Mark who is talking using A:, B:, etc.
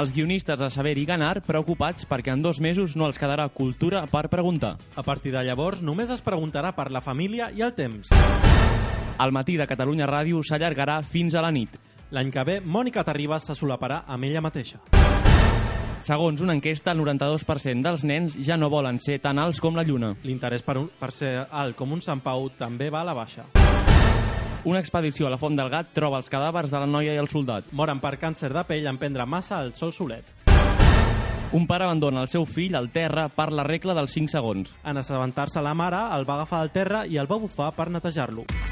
A: Els guionistes de Saber i Ganar preocupats perquè en dos mesos no els quedarà cultura per preguntar.
B: A partir de llavors només es preguntarà per la família i el temps.
A: El matí de Catalunya Ràdio s'allargarà fins a la nit.
B: L'any que ve, Mònica Terribas se solaparà amb ella mateixa.
A: Segons una enquesta, el 92% dels nens ja no volen ser tan alts com la lluna.
B: L'interès per, un, per ser alt com un Sant Pau també va a la baixa.
A: Una expedició a la Font del Gat troba els cadàvers de la noia i el soldat.
B: Moren per càncer de pell en prendre massa al sol solet.
A: Un pare abandona el seu fill al terra per la regla dels 5 segons.
B: En assabentar-se la mare, el va agafar al terra i el va bufar per netejar-lo.